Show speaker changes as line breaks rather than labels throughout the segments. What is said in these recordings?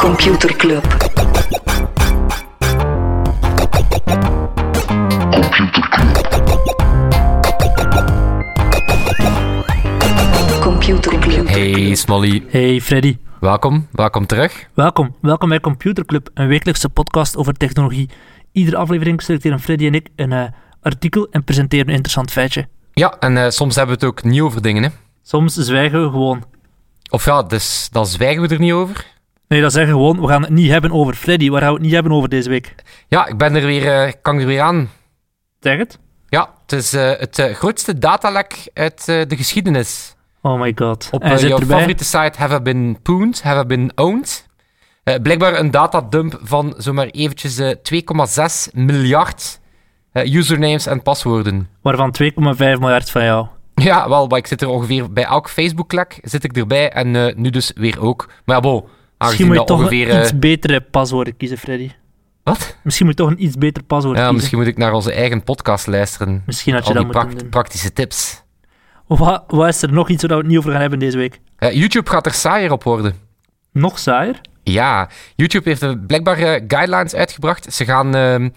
Computer Club. Computer Club.
Hey Smolly,
Hey Freddy,
welkom, welkom terug.
welkom. Welkom bij Computer Club, een wekelijkse podcast over technologie. Iedere aflevering selecteren Freddy en ik een eh, artikel en presenteren een interessant feitje.
Ja, en eh, soms hebben we het ook niet over dingen, hè.
Soms zwijgen we gewoon.
Of ja, dus, dan zwijgen we er niet over.
Nee, dat zeggen we gewoon, we gaan het niet hebben over Freddy. Waar gaan we het niet hebben over deze week?
Ja, ik ben er weer, eh, ik hang er weer aan.
Zeg het?
Ja, het is eh, het eh, grootste datalek uit eh, de geschiedenis.
Oh my god.
Op
Hij
eh,
zit
jouw
erbij.
favoriete site Have I Been Pooned, Have I Been Owned. Eh, blijkbaar een datadump van zomaar eventjes eh, 2,6 miljard eh, usernames en paswoorden.
Waarvan 2,5 miljard van jou.
Ja, wel, maar ik zit er ongeveer bij elk Facebook-lek zit ik erbij en eh, nu dus weer ook. Maar ja, bo,
Misschien
aangezien
moet je
dat
toch
ongeveer...
een
eh,
iets betere paswoord kiezen, Freddy.
wat?
Misschien moet je toch een iets beter paswoord
Ja,
kiezen.
misschien moet ik naar onze eigen podcast luisteren.
Misschien had je
Al
dat
die
moeten
prakt-
doen.
praktische tips.
Wat, wat is er nog iets waar we het niet over gaan hebben deze week?
Eh, YouTube gaat er saaier op worden.
Nog saaier?
Ja, YouTube heeft eh, blijkbaar eh, guidelines uitgebracht. Ze gaan ehm,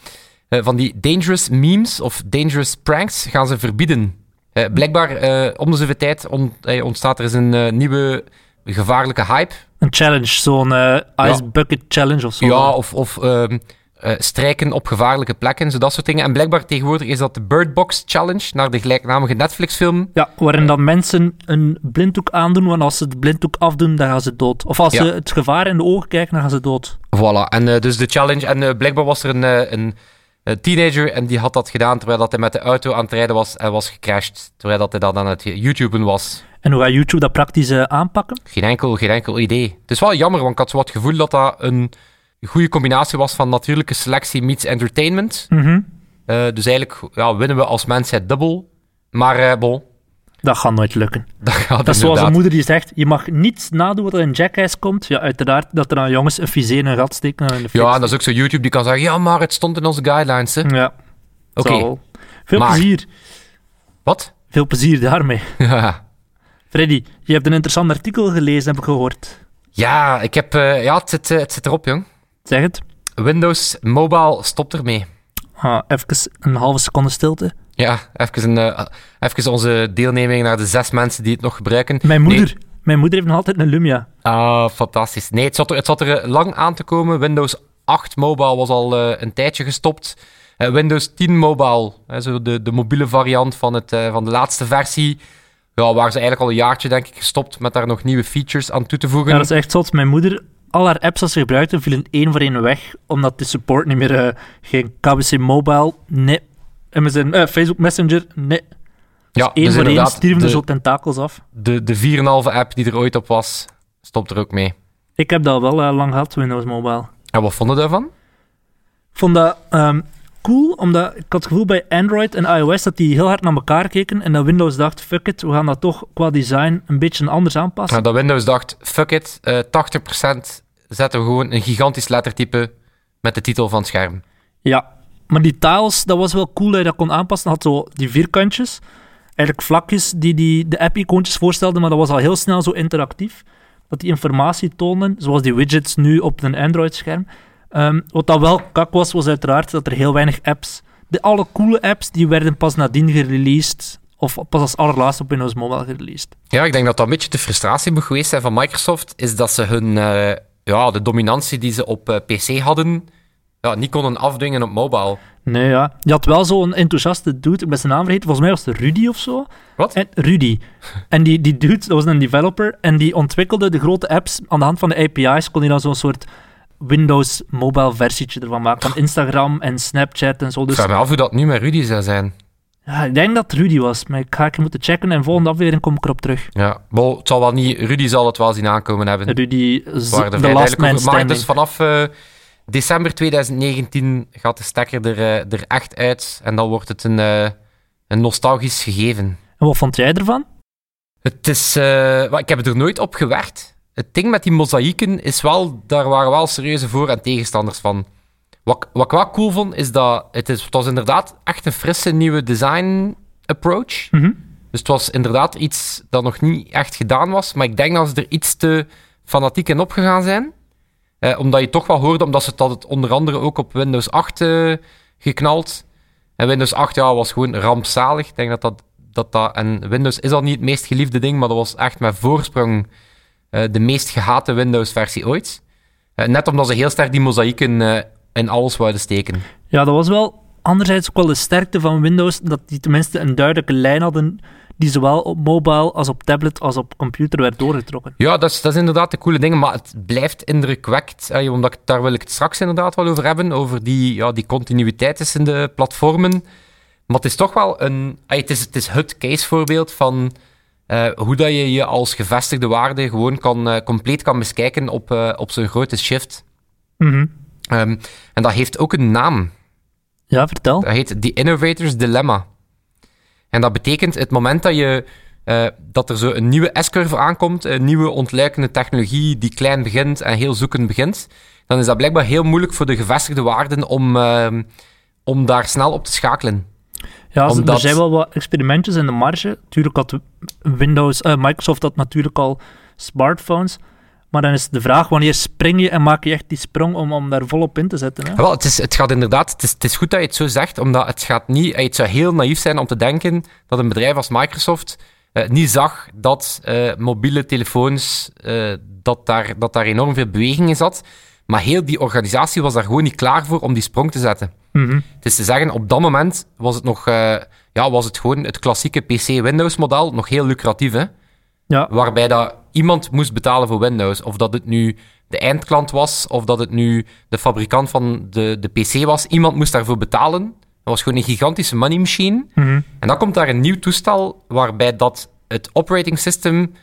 eh, van die dangerous memes of dangerous pranks gaan ze verbieden. Eh, blijkbaar, eh, om de zoveel tijd on- eh, ontstaat er eens een eh, nieuwe gevaarlijke hype.
Een challenge, zo'n eh, ice bucket challenge of zo.
Ja, of, of ehm, eh, strijken op gevaarlijke plekken, zo dat soort dingen. En blijkbaar tegenwoordig is dat de Bird Box Challenge naar de gelijknamige Netflix-film.
Ja, waarin dan mensen een blinddoek aandoen, want als ze het blinddoek afdoen, dan gaan ze dood. Of als
Ja.
ze het gevaar in de ogen kijken, dan gaan ze dood.
Voilà, en eh, dus de challenge. En eh, blijkbaar was er een, eh, een, eh, teenager en die had dat gedaan terwijl dat hij met de auto aan het rijden was en was gecrashed. Terwijl dat hij dan aan het YouTuben was.
En hoe gaat YouTube dat praktisch eh, aanpakken?
Geen enkel, geen enkel idee. Het is wel jammer, want ik had zo wat het gevoel dat dat een goede combinatie was van natuurlijke selectie meets entertainment.
Mhm.
Eh, dus eigenlijk ja, winnen we als mensheid dubbel. Maar eh, bon,
Dat gaat nooit lukken.
dat gaat
Dat is zoals
inderdaad
een moeder die zegt, je mag niets nadoen wat er in Jackass komt. Ja, uiteraard dat er aan jongens een visé in een gat steken. En in de fik
Ja, en dat is ook zo YouTube die kan zeggen: ja, maar het stond in onze guidelines. Hè.
steken. Ja,
Oké,
zal wel. Veel
Maar-
plezier.
wat?
Veel plezier daarmee. Freddy, je hebt een interessant artikel gelezen, heb ik gehoord.
ja, ik heb, eh, ja het, zit, eh, het zit erop, jong.
Zeg het.
Windows Mobile stopt ermee.
Ah, even een halve seconde stilte.
Ja, even, een, eh, even onze deelneming naar de zes mensen die het nog gebruiken.
Mijn
Nee,
moeder. Mijn moeder heeft nog altijd een Lumia.
Ah, fantastisch. Nee, het zat, er, het zat er eh, lang aan te komen. Windows 8 Mobile was al eh, een tijdje gestopt. Eh, Windows 10 Mobile, hè, zo de, de mobiele variant van, het, eh, van de laatste versie. Ja, waren ze eigenlijk al een jaartje, denk ik, gestopt met daar nog nieuwe features aan toe te voegen.
Ja, dat is echt zot. Mijn moeder, al haar apps als ze gebruikte, vielen één voor één weg, omdat de support niet meer eh, ging. KBC Mobile, nee. MSN, eh, Facebook Messenger, nee.
ja, dus
Eén voor één
inderdaad,
stierven
de-
er zo tentakels af.
De, de 4,5 app die er ooit op was, stopt er ook mee.
Ik heb dat wel eh, lang gehad, Windows Mobile.
En wat vonden daarvan?
Ik vond dat ehm, cool, omdat ik had het gevoel bij Android en iOS dat die heel hard naar elkaar keken en dat Windows dacht, fuck it, we gaan dat toch qua design een beetje anders aanpassen.
Nou, dat Windows dacht, fuck it, eh 80% zetten we gewoon een gigantisch lettertype met de titel van het scherm.
Ja, maar die tiles, dat was wel cool dat je dat kon aanpassen. Dat had zo die vierkantjes, eigenlijk vlakjes die, die de app-icoontjes voorstelden, maar dat was al heel snel zo interactief. Dat die informatie toonden, zoals die widgets nu op een Android-scherm. Ehm, wat dat wel kak was, was uiteraard dat er heel weinig apps... De alle coole apps, die werden pas nadien gereleased, of pas als allerlaatste op Windows Mobile gereleased.
Ja, ik denk dat dat een beetje de frustratie moet geweest zijn van Microsoft, is dat ze hun, eh, ja, de dominantie die ze op eh, PC hadden, ja, niet konden afdwingen op mobile.
Nee, ja. Je had wel zo'n enthousiaste dude, ik ben zijn naam vergeten, volgens mij was het Rudy of zo.
Wat?
En Rudy. En die, die dude, dat was een developer, en die ontwikkelde de grote apps aan de hand van de API's, kon hij dan zo'n soort Windows mobile versietje ervan maken, van Instagram en Snapchat en zo.
Ik
Dus
vraag me af hoe dat nu met Rudy zou zijn.
ja, ik denk dat het Rudy was, maar ik ga even moeten checken en volgende aflevering kom ik erop terug.
Ja, wel, het zal wel niet, Rudy zal het wel zien aankomen hebben.
Rudy, z-
Ze waren er
de
vrij duidelijk
last man
over. Maar
standing.
dus vanaf eh, december 2019 gaat de stekker er, eh, er echt uit. En dan wordt het een, eh, een nostalgisch gegeven.
En wat vond jij ervan?
Het is... eh, wel, ik heb er nooit op gewerkt. Het ding met die mozaïeken is wel... Daar waren wel serieuze voor- en tegenstanders van. Wat, ik- wat ik wel cool vond, is dat... Het, is, het was inderdaad echt een frisse nieuwe design approach.
Mhm.
Dus het was inderdaad iets dat nog niet echt gedaan was. Maar ik denk dat ze er iets te fanatiek in opgegaan zijn. Eh, omdat je toch wel hoorde, omdat ze het, dat het onder andere ook op Windows 8 eh, geknald. En Windows 8 ja, was gewoon rampzalig. Ik denk dat dat, dat dat... En Windows is al niet het meest geliefde ding, maar dat was echt met voorsprong eh, de meest gehate Windows-versie ooit. Eh, net omdat ze heel sterk die mozaïeken eh, in alles wouden steken.
Ja, dat was wel anderzijds ook wel de sterkte van Windows, dat die tenminste een duidelijke lijn hadden die zowel op mobile als op tablet als op computer werd doorgetrokken.
Ja, dat is, dat is inderdaad de coole ding, maar het blijft indrukwekkend. eh, omdat ik, daar wil ik het straks inderdaad wel over hebben, over die, ja, die continuïteit tussen de platformen. Maar het is toch wel een... eh, het, is, het is het casevoorbeeld van eh, hoe dat je je als gevestigde waarde gewoon kan, eh, compleet kan miskijken op, eh, op zo'n grote shift.
Mhm.
Ehm, en dat heeft ook een naam.
Ja, vertel.
Dat heet The Innovator's Dilemma. En dat betekent het moment dat, je, eh, dat er zo een nieuwe S-curve aankomt, een nieuwe ontluikende technologie die klein begint en heel zoekend begint, dan is dat blijkbaar heel moeilijk voor de gevestigde waarden om, ehm, om daar snel op te schakelen.
Ja, ze-
omdat-
er zijn wel wat experimentjes in de marge. Tuurlijk had Windows, eh, Microsoft had natuurlijk al smartphones. Maar dan is de vraag, wanneer spring je en maak je echt die sprong om, om daar volop in te zetten? Hè?
Wel, het, is, het gaat inderdaad, het is, het is goed dat je het zo zegt, omdat het gaat niet, eh, het zou heel naïef zijn om te denken dat een bedrijf als Microsoft eh, niet zag dat eh, mobiele telefoons, eh, dat, daar, dat daar enorm veel beweging in zat. Maar heel die organisatie was daar gewoon niet klaar voor om die sprong te zetten.
Mhm.
Het is te zeggen, op dat moment was het nog, eh, ja, was het gewoon het klassieke PC-Windows-model, nog heel lucratief, hè?
Ja.
waarbij dat iemand moest betalen voor Windows. Of dat het nu de eindklant was, of dat het nu de fabrikant van de, de PC was. Iemand moest daarvoor betalen. Dat was gewoon een gigantische money machine.
Mhm.
En dan komt daar een nieuw toestel waarbij dat het operating system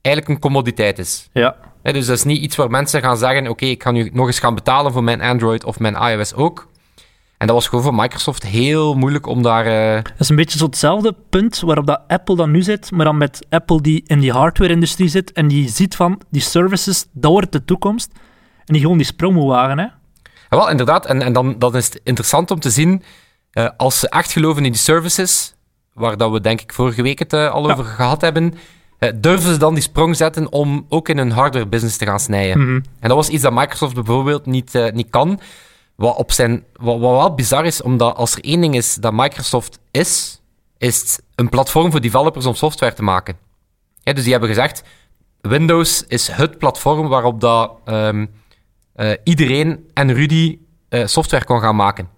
eigenlijk een commoditeit is.
ja.
Hè, dus dat is niet iets waar mensen gaan zeggen: Oké, ik ga nu nog eens gaan betalen voor mijn Android of mijn iOS ook. En dat was gewoon voor Microsoft heel moeilijk om daar. eh,
Dat is een beetje zo hetzelfde punt waarop dat Apple dan nu zit, maar dan met Apple die in die hardware-industrie zit en die ziet van die services, dat wordt de toekomst. En die gewoon die sprong moet wagen, hè.
Ja, wel, inderdaad. En, en dan, dan is het interessant om te zien, eh, als ze echt geloven in die services, waar dat we denk ik vorige week het eh, al
Ja.
over gehad hebben, eh, durven ze dan die sprong zetten om ook in hun hardware business te gaan snijden.
Mhm.
En dat was iets dat Microsoft bijvoorbeeld niet, eh, niet kan. Wat, op zijn, wat, wat wel bizar is, omdat als er één ding is dat Microsoft is, is het een platform voor developers om software te maken. Ja, dus die hebben gezegd, Windows is het platform waarop dat, ehm, eh, iedereen en Rudy eh, software kon gaan maken.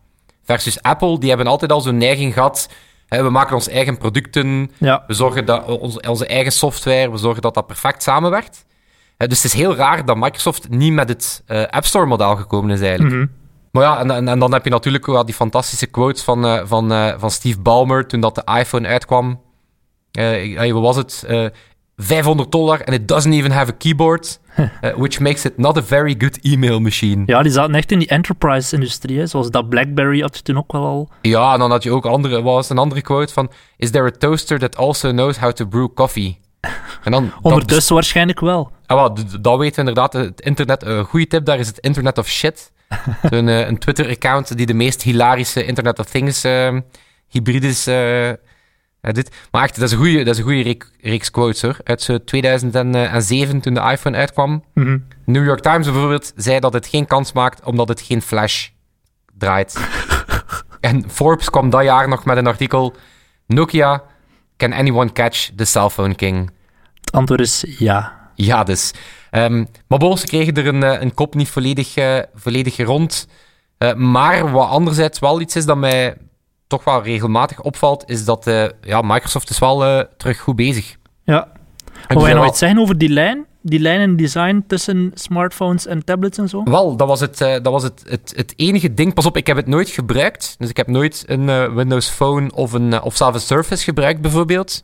Versus Apple, die hebben altijd al zo'n neiging gehad, hè, we maken onze eigen producten,
Ja.
we zorgen dat eh, onze, onze eigen software, we zorgen dat dat perfect samenwerkt. Eh, dus het is heel raar dat Microsoft niet met het eh, App Store-model gekomen is eigenlijk.
Mhm.
Maar ja, en, en, en dan heb je natuurlijk wel die fantastische quotes van, eh, van, eh, van Steve Ballmer toen dat de iPhone uitkwam. Eh, ik- eh, wat was het? Eh, 500 dollar en it doesn't even have a keyboard, eh, which makes it not a very good email machine.
Ja, die zaten echt in die enterprise-industrie, hè. Zoals dat BlackBerry had je toen ook wel al.
Ja, en dan had je ook andere, wat was een andere quote van... Is there a toaster that also knows how to brew coffee? En dan, dat-
Ondertussen waarschijnlijk wel.
Ah, wel, d- d- dat weten we inderdaad. Het internet, een goede tip daar is het Internet of Shit. Zo'n eh, een Twitter-account die de meest hilarische Internet of Things eh, hybrides... eh, eh, dit. Maar echt, dat is een goede, dat is een goede reek- reeks quotes hoor. Uit zo 2007 toen de iPhone uitkwam.
Mhm.
New York Times bijvoorbeeld zei dat het geen kans maakt omdat het geen flash draait. en Forbes kwam dat jaar nog met een artikel: Nokia, can anyone catch the cell phone king?
Het antwoord is ja.
Ja, dus. Ehm, maar bon, ze kregen er een, eh, een kop niet volledig, eh, volledig rond. Eh, maar wat anderzijds wel iets is dat mij toch wel regelmatig opvalt, is dat eh, ja, Microsoft is wel eh, terug goed bezig.
Ja.
En die
Wou jij
zijn
nog
wel-
iets zeggen over die lijn? Die lijn in design tussen smartphones en tablets en zo?
Wel, dat was, het, eh, dat was het, het, het enige ding. Pas op, ik heb het nooit gebruikt. Dus ik heb nooit een eh, Windows Phone of, een, eh, of zelfs een Surface gebruikt, bijvoorbeeld.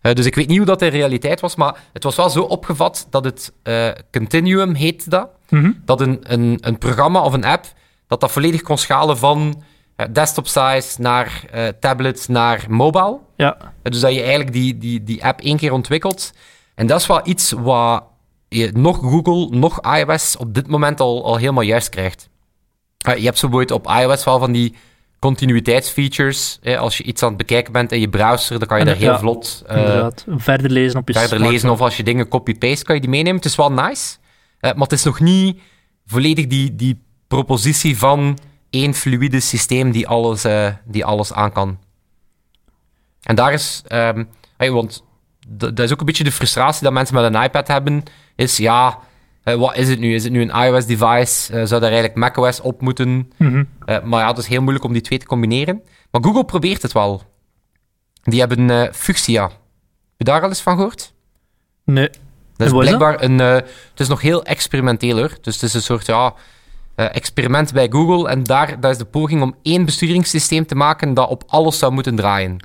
Eh, dus ik weet niet hoe dat in realiteit was, maar het was wel zo opgevat dat het eh, Continuum heet dat.
Mhm.
Dat een, een, een programma of een app, dat dat volledig kon schalen van eh, desktop size naar eh, tablet naar mobile.
Ja.
Eh, Dus dat je eigenlijk die, die, die app één keer ontwikkelt. En dat is wel iets wat je, nog Google, nog iOS op dit moment al, al helemaal juist krijgt. Eh, je hebt zo bijvoorbeeld op iOS wel van die continuïteitsfeatures. Eh, als je iets aan het bekijken bent in je browser, dan kan je
En
daar
dat-
heel
ja,
vlot eh,
Inderdaad. Verder lezen op je
verder
smartphone.
lezen. Of als je dingen copy-paste, kan je die meenemen. Het is wel nice, eh, maar het is nog niet volledig die, die propositie van één fluïde systeem die alles, eh, die alles aan kan. En daar is, ehm, hey, want d- dat is ook een beetje de frustratie dat mensen met een iPad hebben, is ja, eh, wat is het nu? Is het nu een iOS-device? zou daar eigenlijk macOS op moeten?
Mhm.
Eh, maar ja, het is heel moeilijk om die twee te combineren. Maar Google probeert het wel. Die hebben eh Fuchsia. Heb je daar al eens van gehoord?
Nee.
Dat is
En wat is dat?
blijkbaar een. eh, het is nog heel experimenteel hoor. Dus het is een soort ja, eh, experiment bij Google. En daar, daar is de poging om één besturingssysteem te maken dat op alles zou moeten draaien.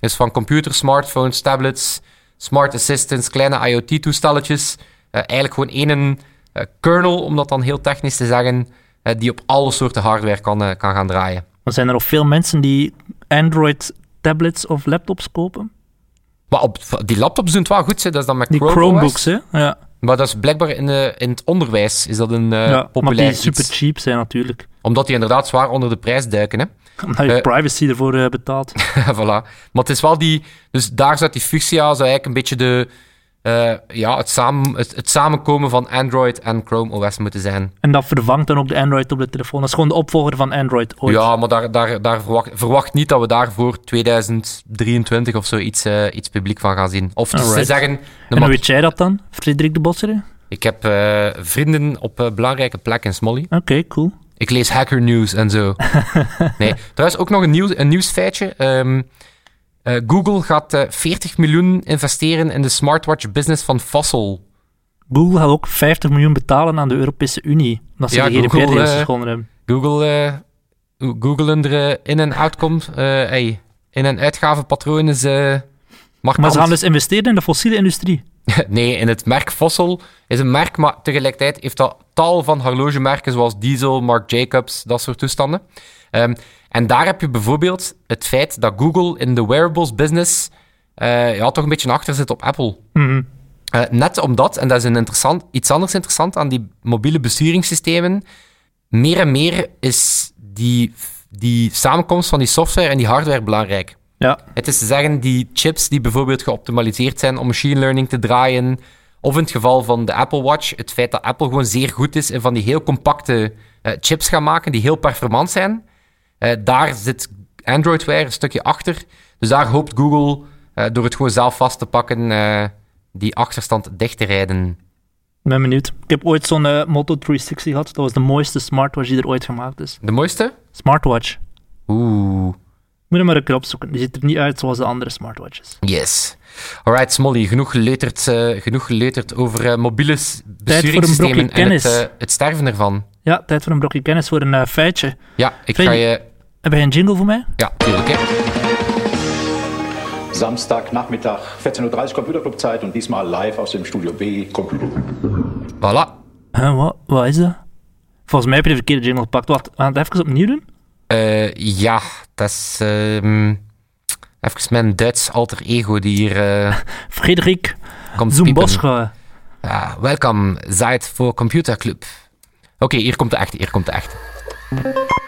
Dus van computers, smartphones, tablets, smart assistants, kleine IoT-toestelletjes. Eh, eigenlijk gewoon één eh, kernel, om dat dan heel technisch te zeggen, eh, die op alle soorten hardware kan, eh, kan gaan draaien.
Maar zijn er nog veel mensen die Android tablets of laptops kopen?
Maar op, die laptops doen het wel goed, hè. dat is dan met
Die
Chrome OS.
Chromebooks, hè? Ja,
Maar dat is blijkbaar in, eh, in het onderwijs is dat een eh,
ja maar
populair
die
iets.
super cheap zijn natuurlijk.
Omdat die inderdaad zwaar onder de prijs duiken. Hè?
Omdat je
Eh.
privacy ervoor eh, betaalt.
voilà. Maar het is wel die... Dus daar zat die Fuchsia, zou eigenlijk een beetje de, eh, ja, het, samen, het, het samenkomen van Android en Chrome OS moeten zijn.
En dat vervangt dan ook de Android op de telefoon. Dat is gewoon de opvolger van Android ooit.
Ja, maar daar, daar, daar verwacht, verwacht niet dat we daar voor 2023 of zo iets, eh, iets publiek van gaan zien. Of dus ze
Alright.
zeggen... de
en hoe
mat-
weet jij dat dan, Frederik de Bosser? Oké,
Ik heb eh, vrienden op eh, belangrijke plekken, Smolly.
cool.
Ik lees hacker news en zo. nee, trouwens ook nog een, nieuws, een nieuwsfeitje. Ehm, eh, Google gaat eh, 40 miljoen investeren in de smartwatch business van Fossil.
Google gaat ook 50 miljoen betalen aan de Europese Unie. Omdat ze
Ja,
de
Google,
GDPR-regels
eh,
geschonden hebben.
Google, eh, hoe Google er eh, in- en uitkomt. eh, hey, in- en uitgavenpatroon is eh
Maar
markant.
ze gaan dus investeren in de fossiele industrie.
nee, in het merk Fossil is een merk, maar tegelijkertijd heeft dat tal van horlogemerken zoals Diesel, Marc Jacobs, dat soort toestanden. Ehm, en daar heb je bijvoorbeeld het feit dat Google in de wearables business eh, ja, toch een beetje achter zit op Apple.
Mhm.
Eh, net omdat, en dat is een interessant, iets anders interessant aan die mobiele besturingssystemen, meer en meer is die, die samenkomst van die software en die hardware belangrijk.
Ja,
Het is te zeggen, die chips die bijvoorbeeld geoptimaliseerd zijn om machine learning te draaien, of in het geval van de Apple Watch, het feit dat Apple gewoon zeer goed is in van die heel compacte eh, chips gaan maken, die heel performant zijn, eh, daar zit Androidware een stukje achter. Dus daar hoopt Google, eh, door het gewoon zelf vast te pakken, eh, die achterstand dicht te rijden.
ik ben benieuwd. Ik heb ooit zo'n eh, Moto 360 gehad. Dat was de mooiste smartwatch die er ooit gemaakt is.
De mooiste?
Smartwatch.
Oeh,
Moet je maar een keer opzoeken. Die ziet er niet uit zoals de andere smartwatches.
yes. Alright, Smolly, genoeg geleuterd, eh, genoeg geleuterd over eh, mobiele s- besturingssystemen en het,
kennis.
eh, het sterven ervan.
Ja, tijd voor een brokje kennis voor een eh, feitje.
Ja, ik
Freddy.
ga je.
Heb jij een jingle voor mij?
Ja, tuurlijk. Hè.
Samstagnachmittag, 14.30 Uhr Computerclubzeit und diesmal live aus dem Studio B. Computerclub.
Voilà.
Huh, wat, wat is dat? Volgens mij heb je de verkeerde jingle gepakt. Wacht, we gaan het even opnieuw doen.
Eh, ja, dat is. ehm, even mijn Duits alter ego die hier eh,
Frederik
komt piepen.
Zumboscha.
Ja, welkom, Zeit voor Computer Club. Oké, hier komt de echte, hier komt de echte.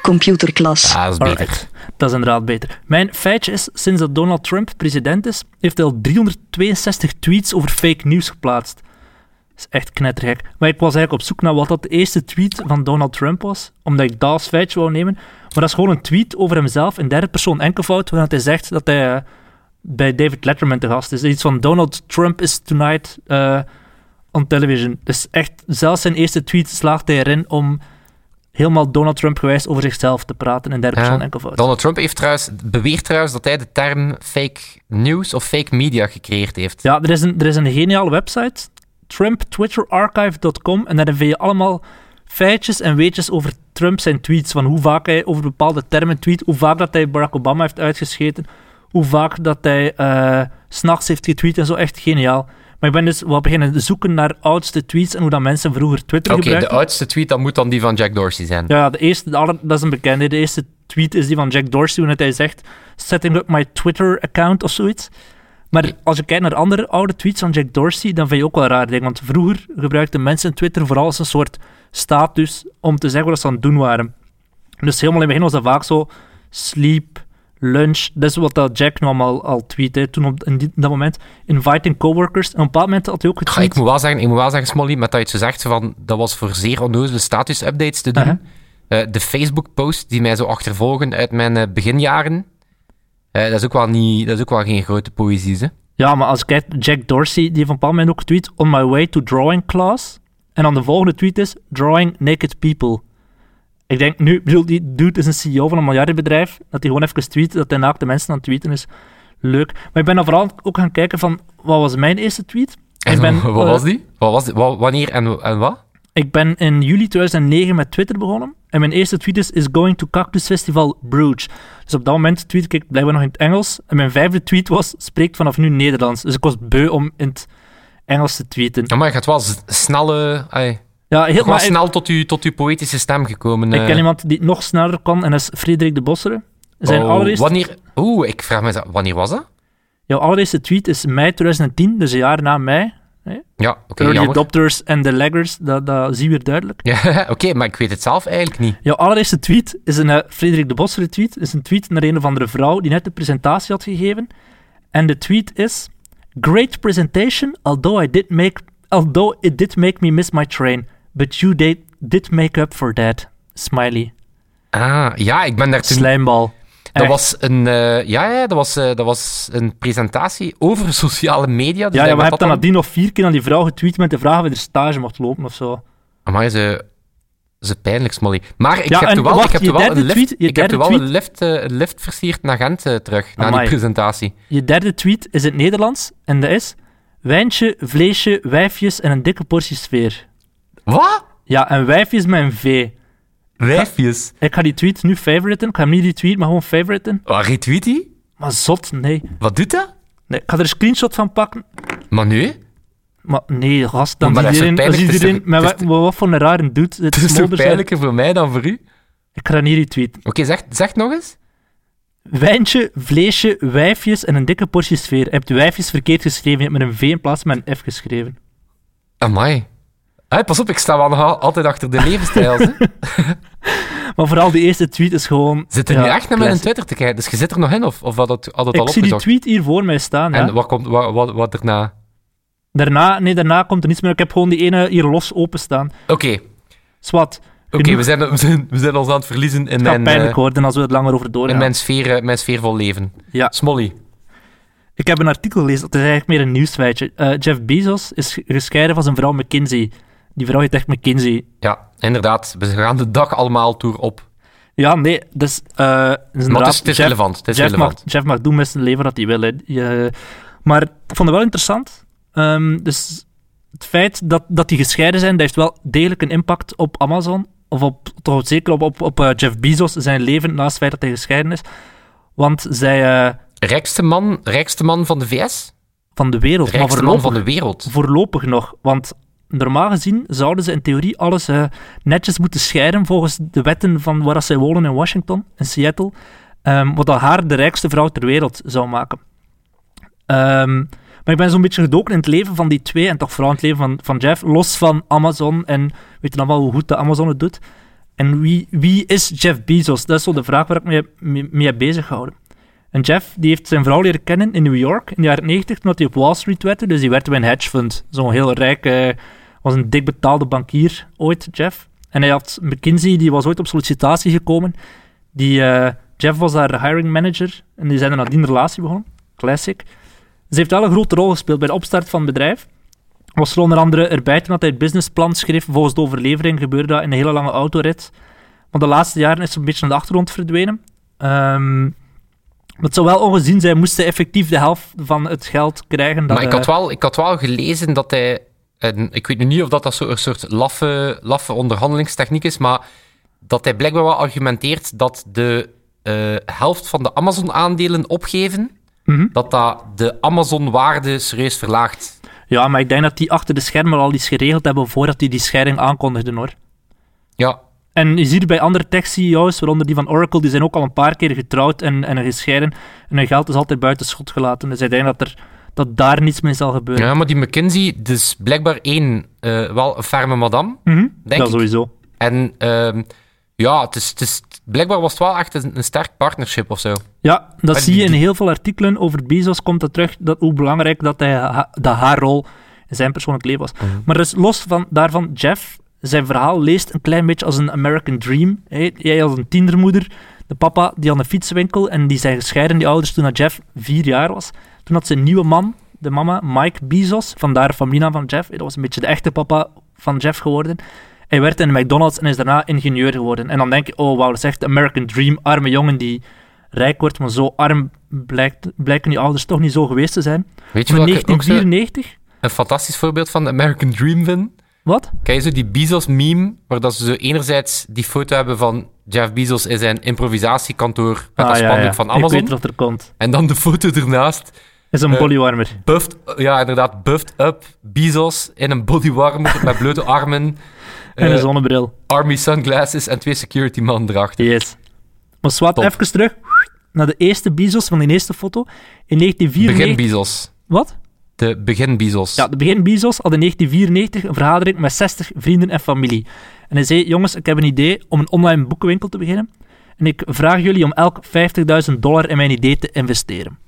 Computerklas.
Ah, dat is beter.
Alright, dat is inderdaad beter. Mijn feitje is, sinds dat Donald Trump president is, heeft hij al 362 tweets over fake nieuws geplaatst. Dat is echt knettergek. Maar ik was eigenlijk op zoek naar wat dat de eerste tweet van Donald Trump was, omdat ik dat als feitje wou nemen. Maar dat is gewoon een tweet over hemzelf in derde persoon enkelvoud, waarin hij zegt dat hij eh, bij David Letterman te gast is. Iets van Donald Trump is tonight eh, on television. Dus echt, zelfs zijn eerste tweet slaagt hij erin om helemaal Donald Trump gewijs over zichzelf te praten in derde
Ja.
persoon enkelvoud.
Donald Trump heeft trouwens, beweert trouwens dat hij de term fake news of fake media gecreëerd heeft.
Ja, er is een, er is een geniale website, trumptwitterarchive.com, en daarin vind je allemaal feitjes en weetjes over Trump zijn tweets, van hoe vaak hij over bepaalde termen tweet, hoe vaak dat hij Barack Obama heeft uitgescheten, hoe vaak dat hij eh, 's s'nachts heeft getweet en zo, echt geniaal. Maar ik ben dus wat beginnen zoeken naar oudste tweets en hoe dat mensen vroeger Twitter
Oké, de
gebruikten.
oudste tweet dat moet dan die van Jack Dorsey zijn.
Ja, de eerste, de aller- dat is een bekende. De eerste tweet is die van Jack Dorsey, waarin hij zegt: Setting up my Twitter-account of zoiets. Maar als je kijkt naar andere oude tweets van Jack Dorsey, dan vind je ook wel raar ding. Want vroeger gebruikten mensen Twitter vooral als een soort status om te zeggen wat ze aan het doen waren. Dus helemaal in het begin was dat vaak zo: sleep, lunch. Dat is wat dat Jack nu allemaal al tweette, toen op in die- dat moment. Inviting coworkers. En op een bepaald moment had hij ook
Ga, ik
getweet.
moet wel zeggen, ik moet wel zeggen, Smolly, met dat je het zo zegt, van, dat was voor zeer onnozele status-updates te doen.
Uh-huh.
Eh, de Facebook-posts die mij zo achtervolgen uit mijn eh, beginjaren, eh, dat, is ook wel niet, dat is ook wel geen grote poëzie, hè.
Ja, maar als ik kijk, Jack Dorsey, die heeft op een bepaald moment ook getweet, on my way to drawing class. En dan de volgende tweet is, drawing naked people. Ik denk nu, ik bedoel, die dude is een CEO van een miljardenbedrijf, dat hij gewoon even tweet, dat hij naakte mensen aan het tweeten is. Leuk. Maar ik ben dan vooral ook gaan kijken van, wat was mijn eerste tweet? Ik ben,
wat
eh,
was die? Wat was die? Wa- wanneer en, en wat?
Ik ben in juli 2009 met Twitter begonnen. En mijn eerste tweet is, is going to Cactus Festival Bruges. Dus op dat moment tweet ik blijkbaar nog in het Engels. En mijn vijfde tweet was, spreekt vanaf nu Nederlands. Dus ik was beu om in het Engels te tweeten.
Ja, maar je gaat wel s- snel, eh, ai,
Ja, heel,
gewoon
maar ik,
snel tot, u, tot uw poëtische stem gekomen.
ik
eh.
ken iemand die het nog sneller kan en dat is Frederik de Bossere. Zijn
Oh,
allereerste,
Wanneer... Oeh, ik vraag me eens af, wanneer was dat?
jouw allereerste tweet is mei 2010, dus een jaar na mei.
Ja, oké,
Early
jammer.
adopters en de laggers, dat, dat zie je weer duidelijk.
Ja, oké, maar ik weet het zelf eigenlijk niet.
Jouw allereerste tweet is een eh, Frederik de Bosser tweet. is een tweet naar een of andere vrouw die net de presentatie had gegeven. En de tweet is... Great presentation, although, I did make, although it did make me miss my train. But you did, did make up for that. Smiley.
Ah, ja, ik ben daar toen...
Slijmbal.
Dat
Echt.
was, een, eh, ja, ja, dat, was, eh, dat was een presentatie over sociale media. Dus
Ja, ja,
ik
maar
denk
heb
dat
dan
dat
nadien nog vier keer aan die vrouw getweet met de vraag of je er stage mocht lopen of zo.
Amai, ze, ze pijnlijk, Smolly. Maar ik
Ja,
heb
en
er wel,
wacht,
ik heb
je
er wel
derde
een lift,
tweet- je
ik heb
derde
er wel
tweet-
een lift, eh, een lift versierd naar Gent eh, terug, na die
Amai.
presentatie.
Je derde tweet is in het Nederlands en dat is... Wijntje, vleesje, wijfjes en een dikke portie sfeer.
Wat?
Ja, en wijfjes met een V.
Wijfjes.
Ik ga die tweet nu favoriten. Ik ga hem niet die tweet, maar gewoon favoriten.
Wat retweet die?
Maar zot, nee.
Wat doet dat?
nee. Ik ga er een screenshot van pakken.
Maar nu?
Maar nee, gast, dan
Maar
ziet
dat is zo
iedereen... Dan
pijnlijk,
ziet
het is
iedereen
toch-
maar
het is
wat, wat, wat voor een rare dude. Het
Het is toch
smolders uit.
pijnlijker voor mij dan voor u?
Ik ga niet die tweet.
Oké, zeg, zeg nog eens.
Wijntje, vleesje, wijfjes en een dikke portie sfeer. Je hebt wijfjes verkeerd geschreven. Je hebt met een V in plaats van met een F geschreven.
Amai. Hé, pas op, ik sta wel nog al- altijd achter de levensstijl. hè.
Maar vooral die eerste tweet is gewoon...
Zit er
ja,
nu echt naar mijn
classic.
Twitter te kijken? Dus je zit er nog in of, of had het, had het al
Ik zie die
opgezocht?
tweet hier voor mij staan. ja.
En wat, komt, wat, wat, wat daarna?
Daarna, nee, daarna komt er niets meer. Ik heb gewoon die ene hier los openstaan.
Oké,
Zwat.
oké, we, zijn, we, zijn, we zijn ons aan het verliezen in,
Het gaat
mijn, eh,
pijnlijk worden als we het langer over
in
doorgaan.
mijn, sfeer, eh, mijn sfeervol leven.
Ja.
Smolly.
Ik heb een artikel gelezen, dat is eigenlijk meer een nieuwsfeitje. Eh, Jeff Bezos is ge- gescheiden van zijn vrouw McKinsey. Die vrouw heet echt McKinsey.
Ja, inderdaad. We gaan de dag allemaal toer op.
Ja, nee, dus... eh, inderdaad,
Maar het is, het is
Jeff-
relevant. Het is
Jeff, mag,
relevant.
Jeff mag doen met zijn leven wat hij wil. hè. Je- maar ik vond het wel interessant. Ehm, dus het feit dat, dat die gescheiden zijn, dat heeft wel degelijk een impact op Amazon. Of op, toch zeker op, op, op eh, Jeff Bezos, zijn leven, naast het feit dat hij gescheiden is. Want zij... eh,
Rijkste man, rijkste man van de VS?
van de wereld, maar
Rijkste man
voorlopig-
van de wereld.
Voorlopig nog, want normaal gezien zouden ze in theorie alles eh, netjes moeten scheiden volgens de wetten van waar dat zij wonen in Washington, in Seattle, ehm, wat dat haar de rijkste vrouw ter wereld zou maken. Ehm, maar ik ben zo'n beetje gedoken in het leven van die twee en toch vooral in het leven van, van Jeff, los van Amazon en weet je dan wel hoe goed de Amazon het doet. En wie, wie is Jeff Bezos? Dat is zo de vraag waar ik me mee, mee heb bezig gehouden. En Jeff die heeft zijn vrouw leren kennen in New York in de jaren 90, toen hij op Wall Street werkte. Dus die werkte bij een hedge fund. Zo'n heel rijk, eh, was een dik betaalde bankier ooit, Jeff. En hij had McKinsey, die was ooit op sollicitatie gekomen. Die, eh, Jeff was daar hiring manager en die zijn er nadien een relatie begonnen. Classic. Ze heeft wel een grote rol gespeeld bij de opstart van het bedrijf. Was er onder andere erbij toen dat hij het businessplan schreef. Volgens de overlevering gebeurde dat in een hele lange autorit. Maar de laatste jaren is ze een beetje aan de achtergrond verdwenen. Ehm maar het zou wel ongezien zijn, moesten effectief de helft van het geld krijgen. Dat,
maar ik
eh,
had, wel, ik had wel gelezen dat hij. En ik weet nu niet of dat, dat zo een soort laffe, laffe onderhandelingstechniek is, maar dat hij blijkbaar wel argumenteert dat de eh, helft van de Amazon-aandelen opgeven,
Mhm.
dat dat de Amazon-waarde serieus verlaagt.
Ja, maar ik denk dat die achter de schermen al iets geregeld hebben voordat die die scheiding aankondigden hoor.
Ja,
En je ziet bij andere tech-CEO's, waaronder die van Oracle, die zijn ook al een paar keer getrouwd en, en gescheiden. En hun geld is altijd buiten schot gelaten. Dus ik denk dat, er, dat daar niets mee zal gebeuren.
ja maar die McKinsey, dus blijkbaar één, eh, wel een ferme madame,
Mhm.
denk
dat
ik.
sowieso.
En ehm, ja, het is, het, is, Blijkbaar was het wel echt een, een sterk partnership of zo.
Ja, dat
Maar
zie je in
die-
heel veel artikelen over Bezos. Komt dat terug dat hoe belangrijk dat, hij, ha- dat haar rol in zijn persoonlijk leven was.
Mhm.
Maar dus los van, daarvan, Jeff, zijn verhaal leest een klein beetje als een American Dream. hè. jij als een tiendermoeder, de papa die aan de fietswinkel en die zijn gescheiden, die ouders, toen dat Jeff vier jaar was. Toen had ze een nieuwe man, de mama, Mike Bezos, vandaar familienaam van Jeff. Dat was een beetje de echte papa van Jeff geworden. Hij werd in de McDonald's en is daarna ingenieur geworden. En dan denk je, oh wauw, dat is echt de American Dream, arme jongen die rijk wordt, maar zo arm blijkt, blijken die ouders toch niet zo geweest te zijn.
Weet je
Maar
wat ik ook zo
1994?
een fantastisch voorbeeld van de American Dream vind?
Wat?
Kijk je zo die Bezos-meme, waar dat ze zo enerzijds die foto hebben van Jeff Bezos in zijn improvisatiekantoor met dat spandoek van
Ah, Ik
Amazon,
weet wat er komt.
en dan de foto ernaast,
Is een
Eh,
bodywarmer.
buffed, ja inderdaad, buffed up Bezos in een bodywarmer met blote armen,
En een
eh,
zonnebril.
army sunglasses en twee security man erachter.
Yes. Maar zwart,
Top.
even terug naar de eerste Bezos van die eerste foto.
Begin
In 1994...
Bezos.
Wat?
De begin Bezos.
Ja, de begin Bezos had in 1994 een vergadering met 60 vrienden en familie. En hij zei, jongens, ik heb een idee om een online boekenwinkel te beginnen. En ik vraag jullie om elk 50.000 dollar in mijn idee te investeren.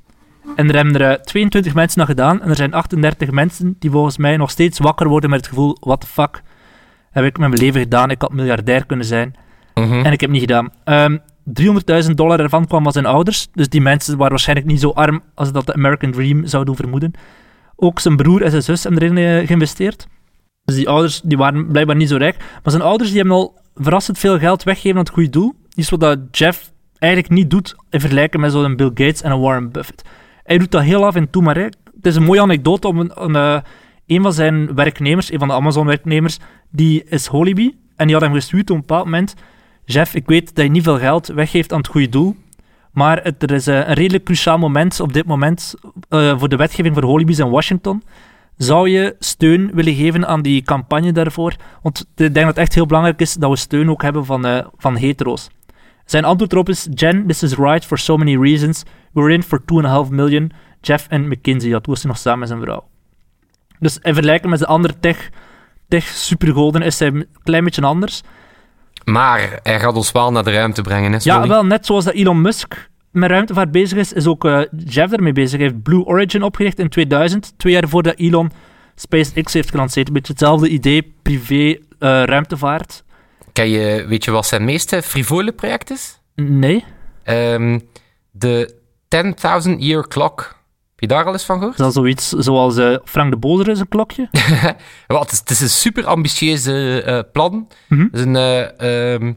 En er hebben er eh, 22 mensen dat gedaan. En er zijn 38 mensen die volgens mij nog steeds wakker worden met het gevoel, what the fuck heb ik met mijn leven gedaan? Ik had miljardair kunnen zijn.
Mhm.
En ik heb het niet gedaan. Ehm, 300.000 dollar ervan kwam van zijn ouders. Dus die mensen waren waarschijnlijk niet zo arm als dat de American Dream zou doen vermoeden. Ook zijn broer en zijn zus hebben erin eh, geïnvesteerd. Dus die ouders die waren blijkbaar niet zo rijk. Maar zijn ouders die hebben al verrassend veel geld weggegeven aan het goede doel. Iets wat dat Jeff eigenlijk niet doet in vergelijking met zo'n Bill Gates en een Warren Buffett. Hij doet dat heel af en toe, maar hè, het is een mooie anekdote om een, een, eh, een van zijn werknemers, een van de Amazon-werknemers, die is Holiby. En die had hem gestuurd op een bepaald moment Jeff, ik weet dat je niet veel geld weggeeft aan het goede doel. Maar het, er is eh, een redelijk cruciaal moment op dit moment eh, voor de wetgeving voor holibies in Washington. Zou je steun willen geven aan die campagne daarvoor? Want ik denk dat het echt heel belangrijk is dat we steun ook hebben van, eh, van hetero's. Zijn antwoord erop is: Jen, this is right for so many reasons. We're in for 2,5 million. Jeff en McKinsey, dat was hij nog samen met zijn vrouw. Dus in vergelijking met de andere tech, tech supergolden is hij een klein beetje anders.
Maar hij gaat ons wel naar de ruimte brengen, hè?
Ja,
sorry.
wel net zoals dat Elon Musk met ruimtevaart bezig is, is ook eh, Jeff ermee bezig. Hij heeft Blue Origin opgericht in 2000, twee jaar voordat Elon SpaceX heeft gelanceerd. Een beetje hetzelfde idee, privé eh, ruimtevaart.
Ken je, weet je wat zijn meeste frivole project is?
Nee,
Ehm, de 10.000 Year Clock. Heb je daar al eens van gehoord?
is dat zoiets zoals eh, Frank de Bozer is een klokje?
Wel, het, is, het is een super ambitieuze eh, plan.
Mhm.
Het is een, eh, ehm,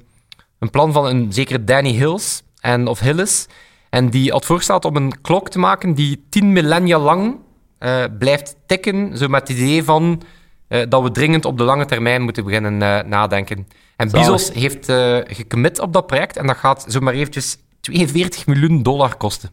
een plan van een zekere Danny Hills, en, of Hillis. En die had voorgesteld om een klok te maken die tien millennia lang eh, blijft tikken. Zo met het idee van eh, dat we dringend op de lange termijn moeten beginnen eh, nadenken. En
Zalig.
Bezos heeft eh gecommit op dat project. En dat gaat zomaar eventjes 42 miljoen dollar kosten.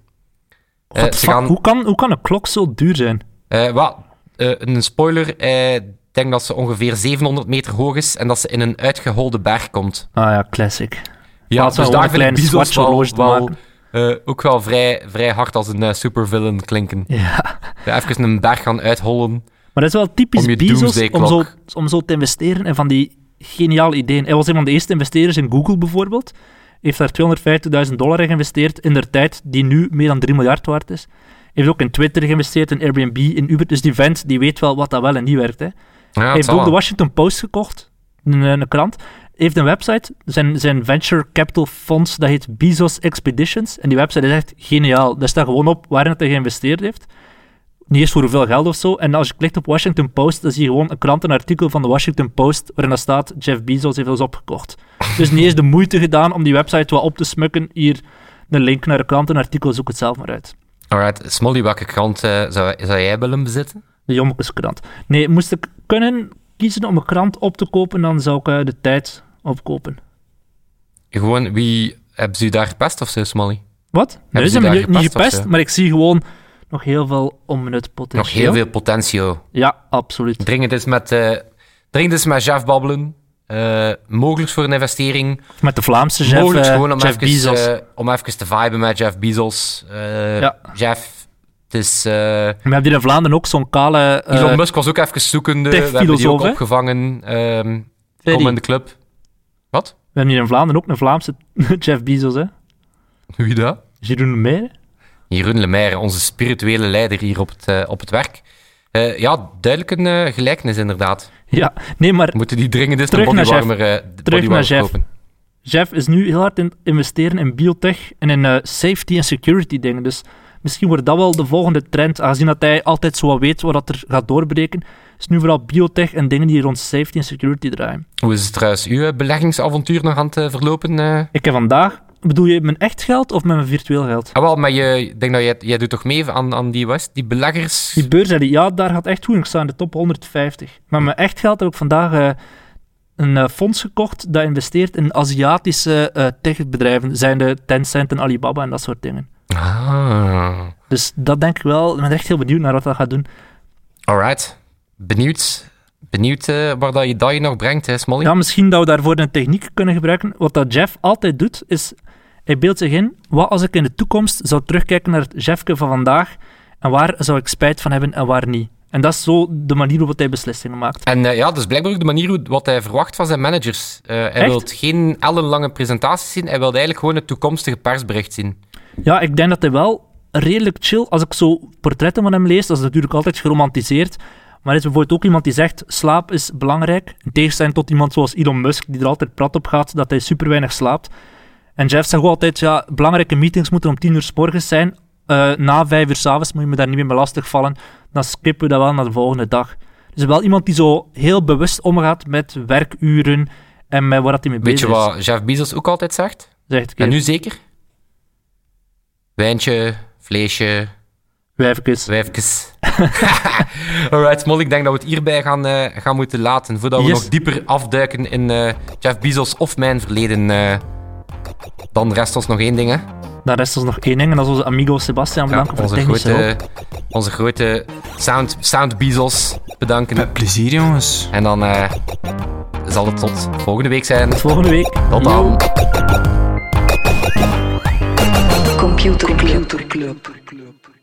Eh,
What the
ze
fuck?
gaan-
hoe, kan, hoe kan een klok zo duur zijn?
eh wel, eh, een spoiler. eh, Ik denk dat ze ongeveer 700 meter hoog is en dat ze in een uitgeholde berg komt.
Ah ja, classic.
Ja, dus
Laten we gewoon een
vind ik
klein
Bezos
Swatch horloge te maken.
eh, ook wel vrij, vrij hard als een eh, supervillain klinken.
Ja.
Ja, even een berg gaan uithollen.
Maar dat is wel typisch
Om je
Bezos om
doomsday-klok.
zo, om zo te investeren en van die geniale ideeën. Hij was een van de eerste investeerders in Google bijvoorbeeld. Hij heeft daar 250.000 dollar in geïnvesteerd in der tijd, die nu meer dan 3 miljard waard is. Hij heeft ook in Twitter geïnvesteerd, in Airbnb, in Uber. Dus die vent die weet wel wat dat wel en niet werkt. Hè.
Ja, het
Hij heeft
zal
ook de
wel.
Washington Post gekocht, een, eh, een krant. Hij heeft een website, zijn, zijn venture capital fonds, dat heet Bezos Expeditions. En die website is echt geniaal. Daar staat gewoon op waarin het hij geïnvesteerd heeft. Niet eens voor hoeveel geld of zo. En als je klikt op Washington Post, dan zie je gewoon een krantenartikel van de Washington Post, waarin dat staat, Jeff Bezos heeft ons opgekocht. Dus niet eens de moeite gedaan om die website wat op te smukken. Hier, de link naar een krantenartikel, zoek het zelf maar uit.
Alright, Smolly, welke krant eh, zou, zou jij willen bezitten?
De Jommekeskrant. Nee, moest ik kunnen kiezen om een krant op te kopen, dan zou ik eh, de tijd opkopen.
Gewoon, wie hebben ze u daar gepest of zo, Smolly?
Wat? Nee,
ze
ze
daar
hebben me niet
gepast of
gepest,
zo?
maar ik zie gewoon nog heel veel onbenut potentieel.
Nog heel veel potentieel.
Ja, absoluut.
Dringend is met, eh dringend is met Jeff babbelen. Eh, mogelijk voor een investering.
Met de Vlaamse Jeff,
Mogelijk
eh,
gewoon om,
Jeff
even,
Bezos.
eh, om even te viben met Jeff Bezos. Eh,
Ja.
Jeff, het is... eh,
We hebben hier in Vlaanderen ook zo'n kale... eh,
Elon Musk was ook even zoekende. We hebben die
techfilosoof,
ook
hè?
opgevangen. ehm
Ferry.
kom in de club. Wat?
hebben hier in Vlaanderen ook een Vlaamse Jeff Bezos, hè?
Wie dat?
Jeroen Meijer.
Jeroen Lemaire, onze spirituele leider hier op het, eh, op het werk. Eh, ja, duidelijk een eh, gelijkenis inderdaad.
Ja, nee, maar
We moeten die dringend eens een
Terug naar Jeff.
bodywarmer, eh, d-
Terug naar
bodywarmer
Jeff.
kopen.
Jeff is nu heel hard in het investeren in biotech en in eh, safety en security dingen. Dus misschien wordt dat wel de volgende trend, aangezien dat hij altijd zo wat weet wat dat er gaat doorbreken. Is nu vooral biotech en dingen die rond safety en security draaien.
Hoe is het trouwens uw eh, beleggingsavontuur nog aan het eh, verlopen? eh?
Ik heb vandaag, bedoel je mijn echt geld of met mijn virtueel geld?
Ah, wel, maar je, ik denk dat jij, jij doet toch mee aan, aan die West, die beleggers?
Die beurs, zei die, ja, daar gaat echt goed in. Ik sta in de top 150. Maar mijn echt geld heb ik vandaag eh, een eh, fonds gekocht dat investeert in Aziatische eh, techbedrijven. Zijn de Tencent en Alibaba en dat soort dingen.
Ah,
Dus dat denk ik wel. Ik ben echt heel benieuwd naar wat dat gaat doen.
alright. Benieuwd, benieuwd eh, waar dat je dat je nog brengt, hè, Smolly?
Ja, misschien dat we daarvoor een techniek kunnen gebruiken. Wat dat Jeff altijd doet, is... Hij beeldt zich in, wat als ik in de toekomst zou terugkijken naar het Jeffke van vandaag, en waar zou ik spijt van hebben en waar niet. En dat is zo de manier waarop hij beslissingen maakt.
En eh, ja, dat is blijkbaar ook de manier hoe, wat hij verwacht van zijn managers. Eh, hij
Echt?
wil geen ellenlange presentaties zien, hij wil eigenlijk gewoon het toekomstige persbericht zien.
Ja, ik denk dat hij wel redelijk chill... Als ik zo portretten van hem lees, dat is natuurlijk altijd geromantiseerd, maar hij is bijvoorbeeld ook iemand die zegt, slaap is belangrijk. In tegenstelling tot iemand zoals Elon Musk, die er altijd prat op gaat dat hij super weinig slaapt. En Jeff zegt ook altijd, ja, belangrijke meetings moeten om tien uur s morgens zijn. Eh, na vijf uur s'avonds moet je me daar niet meer mee lastigvallen. Dan skippen we dat wel naar de volgende dag. Dus wel iemand die zo heel bewust omgaat met werkuren en met waar dat hij mee
Weet
bezig
je
is.
wat Jeff Bezos ook altijd zegt?
Zegt ik
En
nu...
nu zeker? Wijntje, vleesje,
Wijfkes.
wijfjes. Alright, Smol, ik denk dat we het hierbij gaan, eh, gaan moeten laten. Voordat we
Yes.
nog dieper afduiken in eh, Jeff Bezos of mijn verleden. eh, dan rest ons nog één ding, hè.
Dan rest ons nog één ding en dat is onze amigo Sebastian.
Ja,
Bedankt voor de
onze,
technische hulp.
grote, onze grote sound, sound Bezos bedanken.
Met plezier, jongens.
En dan eh, zal het tot volgende week zijn.
Volgende week.
Tot dan.
Computer Club. Computer Club.